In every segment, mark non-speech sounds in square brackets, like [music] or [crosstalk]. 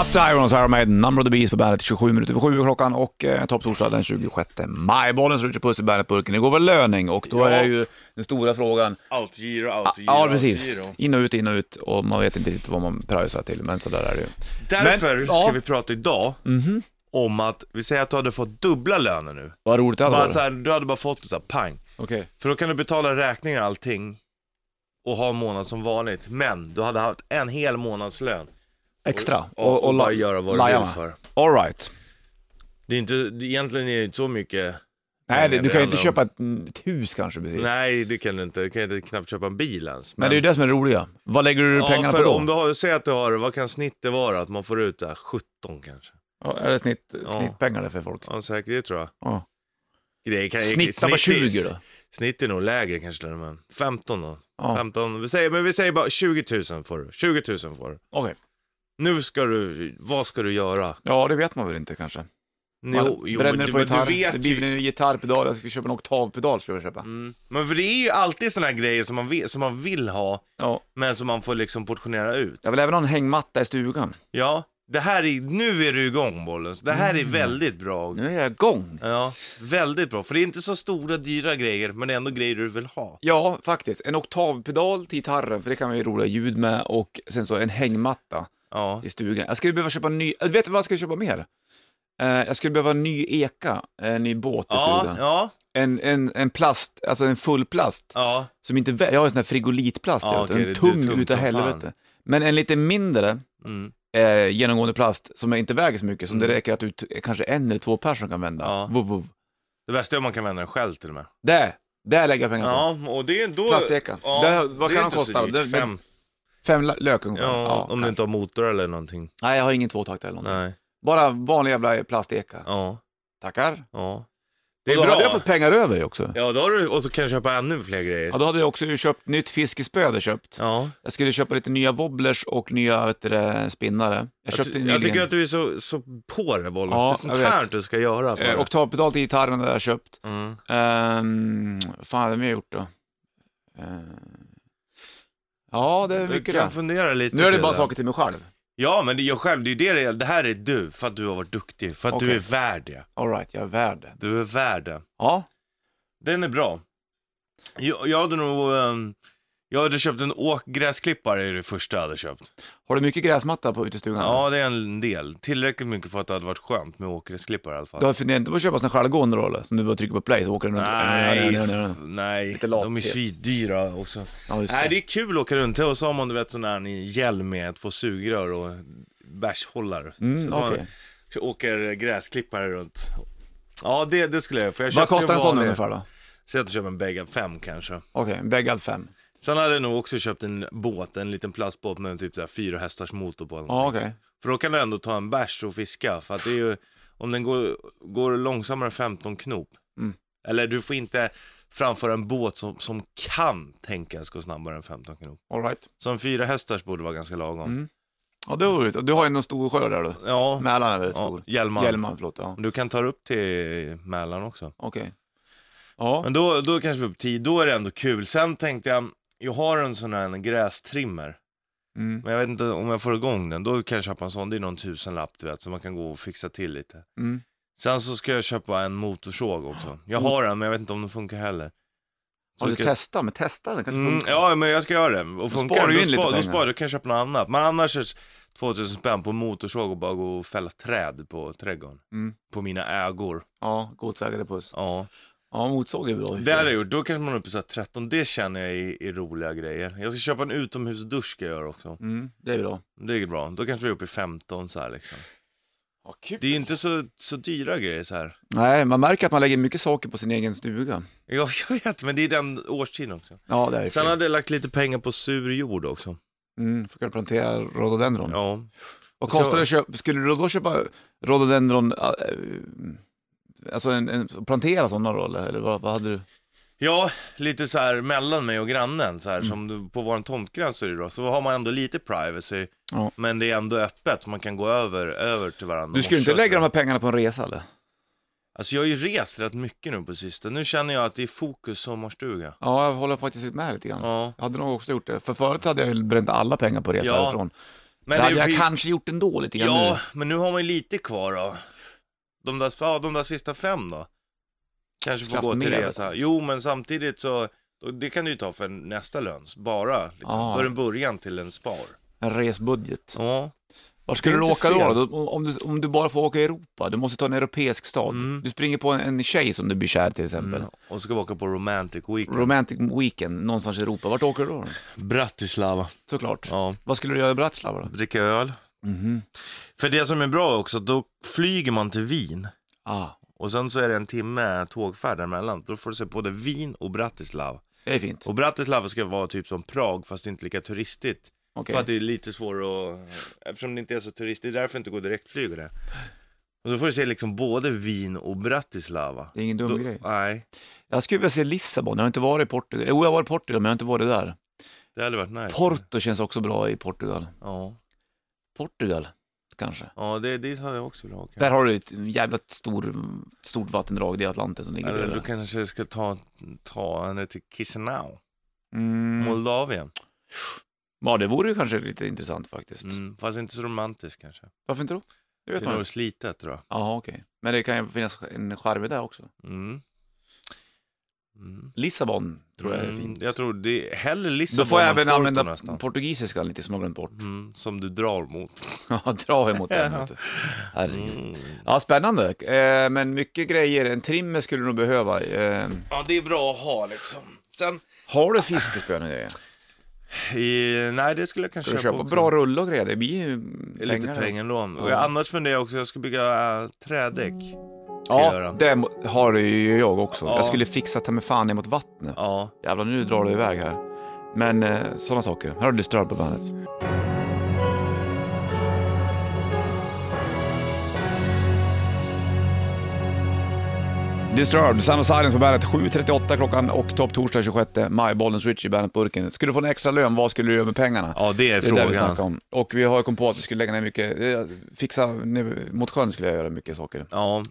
Up to Irons, Iron Maiden, Number of the Beast på bandet 27 minuter över 7 klockan och eh, topptorsdag den 26 maj. Bollen slår ut i puss i bandetburken. Igår var löning och då Ja. är ju den stora frågan. Outgiro, outgiro, Ja, precis. outgiro. In och ut, in och ut och man vet inte riktigt vad man pröjsar till, men sådär är det ju. Därför Men- ja. ska vi prata idag om att, vi säger att du hade fått dubbla löner nu. Vad roligt det hade Bara varit. så här, du hade bara fått det så här, pang. Okej. För då kan du betala räkningar och allting och ha en månad som vanligt. Men du hade haft en hel månadslön. Extra. Och, och, la- bara göra vad du laja vill med. för. All right. Det är inte, det, egentligen är det inte så mycket. Nej, det, du kan ju inte Eller- köpa ett, ett hus kanske precis. Nej, det kan du inte. Du kan ju knappt köpa en bil ens. Men det är ju det som är det roliga. Vad lägger du pengarna ja, på för då? om du har, säg att du har, vad kan snittet vara? Att man får ut där 17 kanske. Ja, är det snitt, Ja. snittpengar där för folk? Ja, säkert, det tror jag. Ja. Det kan, Snittar på snitt är- 20 då? Snitt är nog lägre kanske till och med. 15 då. Ja. 15, vi säger, men vi säger bara 20 000 får du. 20 000 får du. Okej. Nu ska du, vad ska du göra? Ja, det vet man väl inte kanske. Jo, jo, men, bränner du, på men du gitarr. det vet blir ju. en gitarrpedal, jag ska köpa en oktavpedal skulle jag köpa. Mm. Men för det är ju alltid sådana här grejer som man, vet, som man vill ha, Ja. men som man får liksom portionera ut. Jag vill även ha en hängmatta i stugan. Ja, det här är, nu är du igång bollen. Det här Mm. är väldigt bra. Nu är jag igång. Ja, väldigt bra. För det är inte så stora dyra grejer, men det är ändå grejer du vill ha. Ja, faktiskt. En oktavpedal till gitarren, för det kan man ju roliga ljud med, och sen så en hängmatta Ja. i stugan. Jag skulle behöva köpa en ny, äh, vet du vad jag skulle köpa mer? Eh, jag skulle behöva en ny eka, eh, en ny båt i Ja, stugan. ja, En, en, en plast, alltså en full plast. ja. Som inte, vä- jag har en sån här frigolitplast, Ja, jag vet, okej, det en är tung tungt utav som fan. helvete. Men en lite mindre, Mm. eh, genomgående plast som inte väger så mycket, som det Mm. räcker att ut, kanske en eller två personer kan vända. Ja. Vov, vov. Det bästa är om man kan vända den själv till och med. Där, där lägger jag pengar på. Ja, och det är då... Plasteka. Ja, Det- vad det kan är de inte kosta? Så dyrt. Det- det- Fem. Fem la- lök Ja, ungefär. om du kanske. inte har motor eller någonting. Nej, jag har ingen tvåtakt eller någonting. Nej. Bara vanlig jävla plasteka. Ja, Tackar. ja. Det är och då bra. hade jag fått pengar över ju också. Ja. Ja, då har du... och så kan du köpa ännu fler grejer. då hade jag också ju köpt nytt fiskespö, hade jag köpt. Ja. Jag skulle köpa lite nya wobblers och nya vet du, det, spinnare. Jag Jag, köpte ty- jag jag tycker att du är så, så på det bollen. Ja, det är sånt jag vet. här du ska göra. För. eh, oktavpedal till gitarren hade jag köpt. Mm. Ehm, vad fan hade vi gjort då? Ehm, ja, det är Du mycket kan det. fundera lite Nu är det till bara saker till mig själv. Ja, men det är jag själv. Det är ju det det gäller. Det här är du, för att du har varit duktig. För att du Okej. är värd det. All right, jag är värd det. Du är värd det. Ja, Den är bra. Jag, jag hade nog... ehm, jag hade köpt en åkgräsklippare är det första jag hade köpt. har du mycket gräsmatta på utestugan? Ja, det är en del. Tillräckligt mycket för att det hade varit skönt med åkgräsklippare i alla fall. Du har funderat inte på att köpa sån här självgående då eller? Som du bara trycker på play så åker den runt? Nej, f- nej. Lite De är lathet. svindyra och så. Ja, just Nej, det. det är kul att åka runt. Och så har man du vet sån här hjälm med två sugrör och bärshållare. Mm, så att okej. man åker gräsklippare runt. Ja, det, det skulle jag göra, för jag Vad köpte ju kostar en sån vanlig- ungefär då? Säg att du köper en bägge fem kanske. Okej, en bäggad fem. Sen hade jag nog också köpt en båt, en liten plastbåt med typ så här fyra hästars motor på. Ja, okej. För då kan du ändå ta en bärs och fiska. För att det är ju, om den går, går långsammare än 15 knop. Mm. Eller du får inte framföra en båt som, som kan tänkas gå snabbare än 15 knop. All right. Så en fyra hästars borde vara ganska lagom. Mm. Ja, det var roligt. Och Du har ju någon stor sjö där du? Ja, Mälaren är väldigt Ja, stor. Hjälman. Hjälman, förlåt. Ja, du kan ta det upp till Mälaren också. okej. Ja, Men då, då kanske vi är upp 10, då är det ändå kul. Sen tänkte jag, jag har en sån här grästrimmer. mm. Men jag vet inte om jag får igång den, då kan jag köpa en sån. Det är någon tusenlapp du vet, så man kan gå och fixa till lite. Mm. Sen så ska jag köpa en motorsåg också. Jag har den men jag vet inte om den funkar heller. Så Har du ska- testat? Men testa den kanske Mm, funkar. ja, men jag ska göra det. Och funkar sparar den, du in då, lite spar, då pengar. sparar du, kan jag köpa något annat. Men annars är det 2000 spänn på en motorsåg och bara gå och fälla träd på trädgården. Mm. På mina ägor. Ja, godsägare puss. Ja. Ja, motsåg är bra. Det hade jag gjort. Då kanske man är uppe så här 13. Det känner jag är, är roliga grejer. Jag ska köpa en utomhusdusch ska jag göra också. Mm, det är bra. Det är bra. Då kanske vi är uppe i 15 så här liksom. Ja, kul. Det är ju inte så, så dyra grejer så här. [laughs] Nej, man märker att man lägger mycket saker på sin egen stuga. Jag, jag vet, men det är den årstiden också. Ja, det är Sen kul. hade jag lagt lite pengar på sur jord också. Mm, får kunna plantera rhododendron. Ja. Vad Så- kostar det att köpa, skulle du då köpa rhododendron, äh, eh, alltså en, en, plantera sådana då eller, eller vad, vad hade du? Ja, lite så här mellan mig och grannen så här Mm. som du- på våran tomtgräns är det då. Så har man ändå lite privacy. Ja. Men det är ändå öppet, man kan gå över, över till varandra. Du skulle inte och köra lägga de sådär. här pengarna på en resa eller? Alltså jag har ju rest rätt mycket nu på sistone. Nu känner jag att det är fokus sommarstuga. Ja, jag håller faktiskt med lite grann. Ja. Jag hade nog också gjort det, för förut hade jag ju bränt alla pengar på resa Ja. härifrån. Men det hade är jag ju- kanske gjort ändå lite grann Ja, nu. men nu har man ju lite kvar då. De där, ja, de där sista fem då. Kanske får Kraft gå till med, resa. Jo, men samtidigt så, och det kan du ju ta för nästa löns, bara. Liksom. Ja. Då är det en början till en spar. En resbudget. Ja, Var skulle du inte åka då? fel. då? Om du, om du bara får åka i Europa, du måste ta en europeisk stad. Mm. Du springer på en, en tjej som du blir kär till exempel. mm. Och så ska vi åka på Romantic Weekend. Romantic weekend någonstans i Europa. Vart åker du då? Bratislava. Såklart. Ja, Mm-hmm. Vad skulle du göra i Bratislava då? dricka öl. Mhm. För det som är bra också, då flyger man till Wien. Ah, Och sen så är det en timme tågfärd däremellan. Då får du se både Wien och Bratislava. det är fint. Och Bratislava ska vara typ som Prag, fast inte lika turistigt. Okej. För att det är lite svårare att... Eftersom det inte är så turistigt, det är därför det inte går direktflyg och det. Och då får du se liksom både Wien och Bratislava. Det är ingen dum Då, grej. nej, Jag skulle vilja se Lissabon, jag har inte varit i Portugal. Jo, jag har varit i Portugal, men jag har inte varit där. det hade varit nice. Porto känns också bra i Portugal. Ja, Portugal, kanske. ja det, det har jag också velat åka. Där har du ett jävla stor, stort vattendrag, det är Atlanten som ligger Eller bredvid. du kanske ska ta, ta henne till Chisinau, Mm. Moldavien. Ja, det vore ju kanske lite intressant faktiskt. Mm, fast inte så romantiskt kanske. Varför inte då? Det Det vet är man ju. nog slitet tror jag. Jaha, okej. Men det kan ju finnas en charm i det också. Mm. Mm. Lissabon tror jag är Mm, fint. Jag tror det är hellre Då Lissabon får jag än även Porto använda nästan. portugisiskan lite som jag glömt bort. [laughs] Mm, som du drar mot. Ja, dra emot den. vet du. Herregud. Mm. Ja, spännande. Eh, men mycket grejer. En trimmer skulle du nog behöva. Eh, Ja, det är bra att ha liksom. Sen... har du fiskespön och grejer? I, nej, det skulle jag kanske Ska du köpa också. bra rulle och grejer? Det blir ju Lite pengar lån. Och Ja. jag, annars funderar jag också, jag ska bygga äh, trädäck. Ska Ja, jag göra. det mo- har ju jag också. Ja. Jag skulle fixa ta mig fan emot vattnet. Ja. Jävlar, nu drar du iväg här. Men eh, sådana saker. Här har du Disturbed på bandet. Disturbed, Sound of Silence på bandet. 7.38 klockan och topp torsdag 26 maj. Bollens Richie i bandet-burken. Skulle du få en extra lön, vad skulle du göra med pengarna? ja, det är Det är det vi frågan. snackar om. Och vi har ju kommit på att vi skulle lägga ner mycket, eh, fixa nu, mot sjön skulle jag göra mycket saker. ja,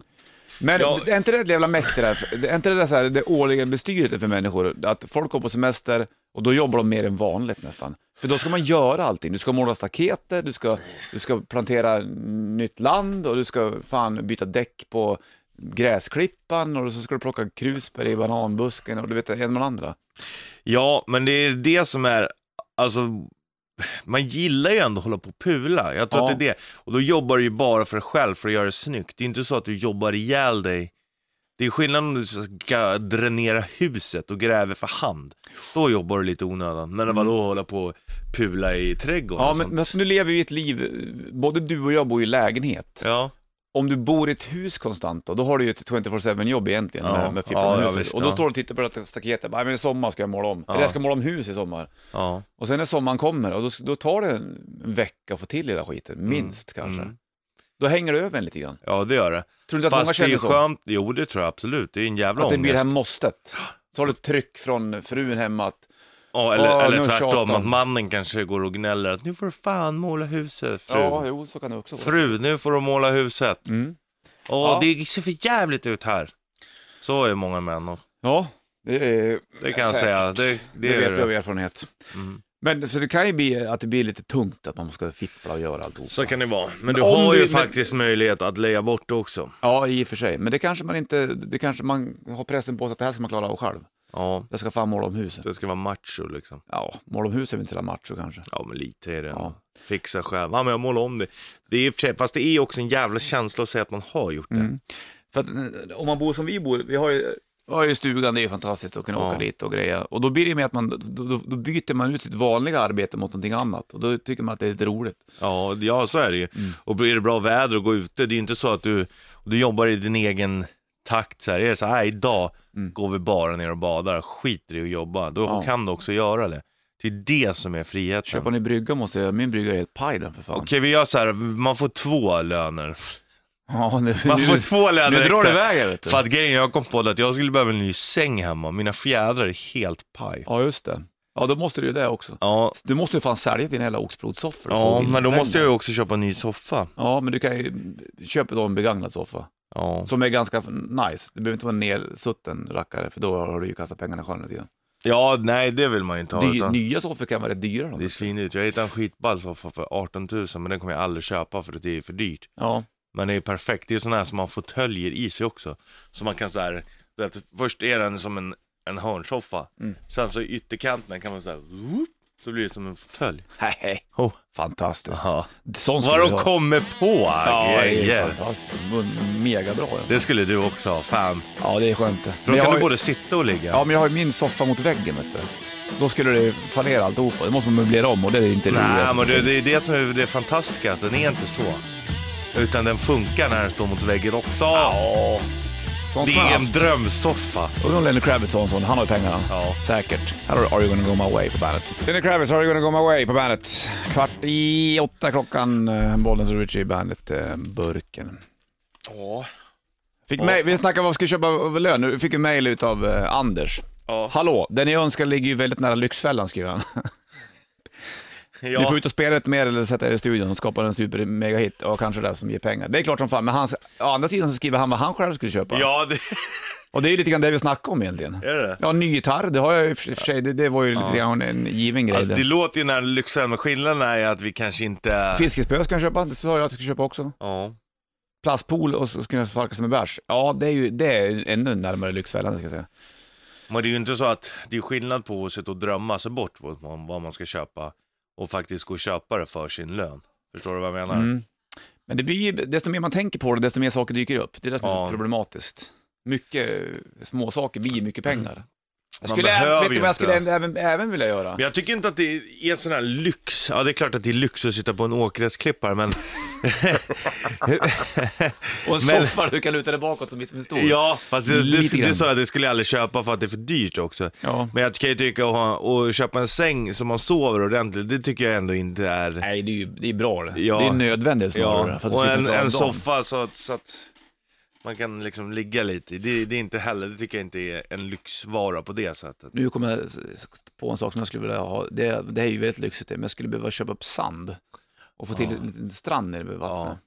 Men Ja. är inte det ett jävla mäkt det där? Är inte det där så här, det årliga bestyret för människor? Att folk går på semester och då jobbar de mer än vanligt nästan. För då ska man göra allting. Du ska måla staketer, du ska, du ska plantera nytt land och du ska fan byta däck på gräsklippan och så ska du plocka krusbär i bananbusken och du vet en med den andra. ja, men det är det som är, alltså, man gillar ju ändå att hålla på och pula. Jag tror Ja. att det är det. Och då jobbar du ju bara för dig själv för att göra det snyggt. Det är inte så att du jobbar ihjäl dig. Det är skillnad om du ska dränera huset och gräver för hand. Då jobbar du lite onödan. Men vadå hålla på och pula i trädgården? Mm. Ja, och men, sånt? men alltså, nu lever vi ett liv, både du och jag bor i lägenhet. ja. om du bor i ett hus konstant då, då har du ju ett 24-7 jobb egentligen Ja, med, med ja, fipplan i ja, huset. visst, och då ja. står du och tittar på det här staketet, bara, "Nej, men i sommar ska jag måla om, Ja. eller jag ska måla om hus i sommar. Ja. Och sen när sommaren kommer, och då, då tar det en vecka att få till hela skiten, minst kanske. Mm. Då hänger det över en lite grann. Ja, det gör det. Tror du inte att många Fast det är känner ju så? skönt. Jo, det tror jag absolut. Det är en jävla Att det blir det här ångest. måstet. Så har du ett tryck från frun hemma att, Ja, eller, Åh, nu eller tjatar tvärtom, de. att mannen kanske går och gnäller att nu får du fan måla huset, fru. ja, jo, så kan det också vara. Fru, nu får du måla huset. Mm. Åh, Ja. det ser för jävligt ut här. Så är många män och Ja, det, är, det kan jag säkert. säga. Det, det, Det, är vet jag av erfarenhet. Mm. Men så det kan ju bli att det blir lite tungt att man ska fippla och göra alltihop. Så kan det vara. Men du om har du- ju men- faktiskt möjlighet att leja bort det också. Ja, i och för sig. Men det kanske man inte, det kanske man har pressen på sig att det här ska man klara av själv. Ja, Jag ska fan måla om huset. det ska vara macho liksom. Ja, måla om huset är väl inte så där macho kanske. Ja, men lite är det. Ja. ändå. Fixa själv. Ja, men jag målar om det. det är, i och för sig- fast det är ju också en jävla känsla att säga att man har gjort det. Mm. För att eh, om man bor som vi bor, vi har ju, vi har ju stugan, det är ju fantastiskt att kunna Ja. åka dit och grejer. Och då blir det med att man, då, då, då byter man ut sitt vanliga arbete mot någonting annat. Och då tycker man att det är lite roligt. Ja, ja så är det ju. Mm. Och blir det bra väder och gå ute, det är ju inte så att du, du jobbar i din egen takt. Så här. Är det så här, idag går vi bara ner och badar, skiter i att jobba. Då Mm. Ja. kan du också göra det. Det är det som är friheten. Köpa en ny brygga måste jag, min brygga är helt paj den för fan. Okej, vi gör så här, man får två löner. Ja, [laughs] nu, Man får nu, två löner nu drar extra. det iväg här, vet du. För att grejen, jag kom på det att jag skulle behöva en ny säng hemma. Mina fjädrar är helt paj. Ja, just det. Ja, då måste du ju det också. Ja, Du måste ju fan sälja din hela oxblodssoffra. ja men då måste jag ju också köpa en ny soffa. Ja, men du kan ju köpa då en begagnad soffa. Ja. Som är ganska nice. Det behöver inte vara en nedsutten rackare, för då har du ju kastat pengarna i sjön lite grann. Ja, nej det vill man ju inte ha. Dy, utan nya soffor kan vara rätt dyra. det är De. svindyrt. Jag hittade en skitball soffa för 18 000 men den kommer jag aldrig köpa för att det är för dyrt. Ja. Men det är perfekt. Det är sådana här som har fåtöljer i sig också. Så man kan så här, du vet, först är den som en, en hörnsoffa. Mm. Sen så i ytterkanterna kan man så här, whoop, så blir det som en fåtölj. Nej, Oh. fantastiskt. Ja. Sån Vad skulle de jag ha. kommer på! Ja, det är grejer. fantastiskt. M- Megabra. Ja. Det skulle du också ha, fan. ja, det är skönt. För Men då jag kan har du ju- både sitta och ligga. Ja, men jag har ju min soffa mot väggen, vet du. Då skulle det fallera alltihopa. Det måste man möblera om och det är inte det Nej, roligaste som men det, finns. det är det som är det fantastiska, att den är inte så. Utan den funkar när den står mot väggen också. Ja, sånt Det som man är har en haft. drömsoffa. Undrar om Lenny Kravitz har en sån. Han har ju pengarna. Ja. Säkert. Här har du Are You Gonna Go My Way på bandet. Lenny Kravitz, Are You Gonna Go My Way på bandet. Kvart i åtta klockan, eh, Bollnäs och Richie i bandet, eh, Burken. Ja. Fick mail, vi snackade om vad vi skulle köpa av lön. Nu fick vi mail utav eh, Anders. Ja. Hallå, den jag önskar ligger ju väldigt nära Lyxfällan, skriver han. Ni får ut och spela lite mer eller sätta er i studion och skapa en super mega hit och kanske det som ger pengar. Det är klart som fan, men han, å andra sidan så skriver han vad han själv skulle köpa. ja, det Och det är ju lite grann det vi snackar om egentligen. är det. Ja, ny gitarr, det har jag ju i och för sig, det, det var ju lite grann en given grej. Alltså, det... det låter ju när lyxen, men skillnaden är att vi kanske inte... Fiskespö ska jag köpa, det sa jag att jag skulle köpa också. Ja. Plastpool och så skulle jag sparka som en bärs. Ja, det är ju det är ännu närmare Lyxfällan ska jag säga. Men det är ju inte så att det är skillnad på att sitta och drömma sig bort vad man, vad man ska köpa och faktiskt gå och köpa det för sin lön. Förstår du vad jag menar? Mm. Men det blir ju, desto mer man tänker på det, desto mer saker dyker upp. Det är det som är så Ja. problematiskt. Mycket eh, små saker blir mycket pengar. Jag Man skulle, behöver vet du ju vad jag inte. skulle även, även vilja göra? Men jag tycker inte att det är en sån här lyx. Ja, det är klart att det är lyx att sitta på en åkgräsklippare, men... Och en Men- soffa du kan luta dig bakåt som är som en stor. ja, fast det, Lite det, det, grann. sa jag att det skulle jag aldrig köpa för att det är för dyrt också. Ja. Men jag kan ju tycka att ha- att köpa en säng som man sover ordentligt, det tycker jag ändå inte är... Nej, det är ju det är bra det. Ja. Det är nödvändigt snarare. Ja, för att du och sitter en, bra en dag. soffa så att, så att man kan liksom ligga lite i. Det, det är inte heller, det tycker jag inte är en lyxvara på det sättet. Nu kommer jag s- s- på en sak som jag skulle vilja ha. Det, det här är ju väldigt lyxigt det, men jag skulle behöva köpa upp sand och få till en liten strand nere vid vattnet.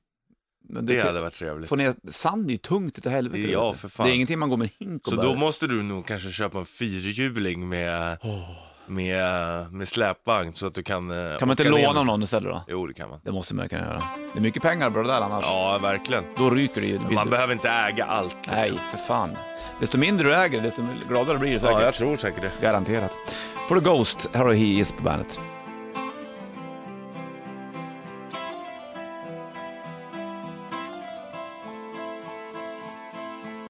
Men Det kan- hade varit trevligt. Få ner, sand är ju tungt utav helvete. Ja, vet du. för fan. Det är ingenting man går med en hink och Så bär. då måste du nog kanske köpa en fyrhjuling med, med, med släpvagn så att du kan eh, Kan man inte åka ner låna med- någon istället då? Jo, det kan man. Det måste man kunna göra. Det är mycket pengar bra det där annars. Ja, verkligen. Då ryker det ju. Man behöver inte äga allt. Liksom. Nej, för fan. Desto mindre du äger, desto gladare blir du säkert. Ja, jag tror säkert det. Garanterat. Får du Ghost, här har He Is på bandet.